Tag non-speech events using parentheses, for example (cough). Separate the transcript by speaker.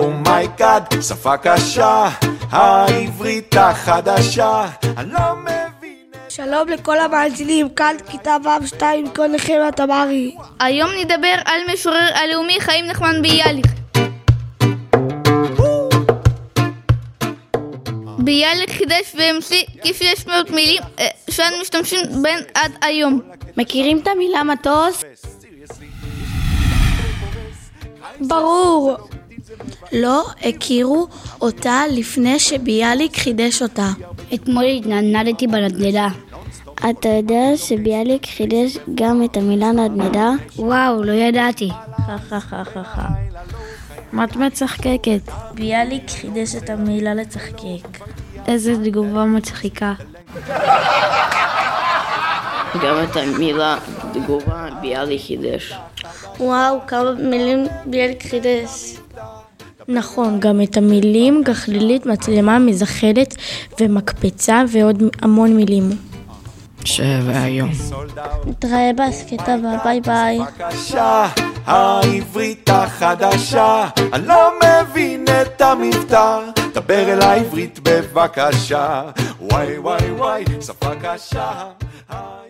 Speaker 1: אומייגאד, oh my God, שפה קשה, העברית החדשה, אני לא מבין את...
Speaker 2: שלום לכל המאזינים, כאן כיתה ו'2 כל נחמיה תמרי.
Speaker 3: היום נדבר על משורר הלאומי חיים נחמן ביאליק. ביאליק חידש והמציא כ-600 מילים אה, שאנו משתמשים בהן עד היום.
Speaker 4: מכירים את המילה מטוס?
Speaker 2: ברור.
Speaker 4: לא הכירו אותה לפני שביאליק חידש אותה.
Speaker 5: אתמול התנדנדתי בנדנדה.
Speaker 6: אתה יודע שביאליק חידש גם את המילה נדנדה?
Speaker 5: וואו, לא
Speaker 6: (laughs)
Speaker 5: ידעתי.
Speaker 7: חה חה חה חה חה. מה את מצחקקת?
Speaker 8: ביאליק חידש את המילה לצחקק.
Speaker 7: איזה תגובה מצחיקה.
Speaker 9: גם את המילה תגובה ביאליק חידש.
Speaker 10: וואו, כמה מילים ביאליק חידש.
Speaker 11: נכון, גם את המילים גחלילית, מצלמה, מזחלת ומקפצה ועוד המון מילים.
Speaker 9: שהיום.
Speaker 10: נתראה בהסכתה ביי ביי.
Speaker 1: העברית החדשה, אני לא מבין את המבטא, דבר אל העברית בבקשה. וואי וואי וואי, שפה קשה.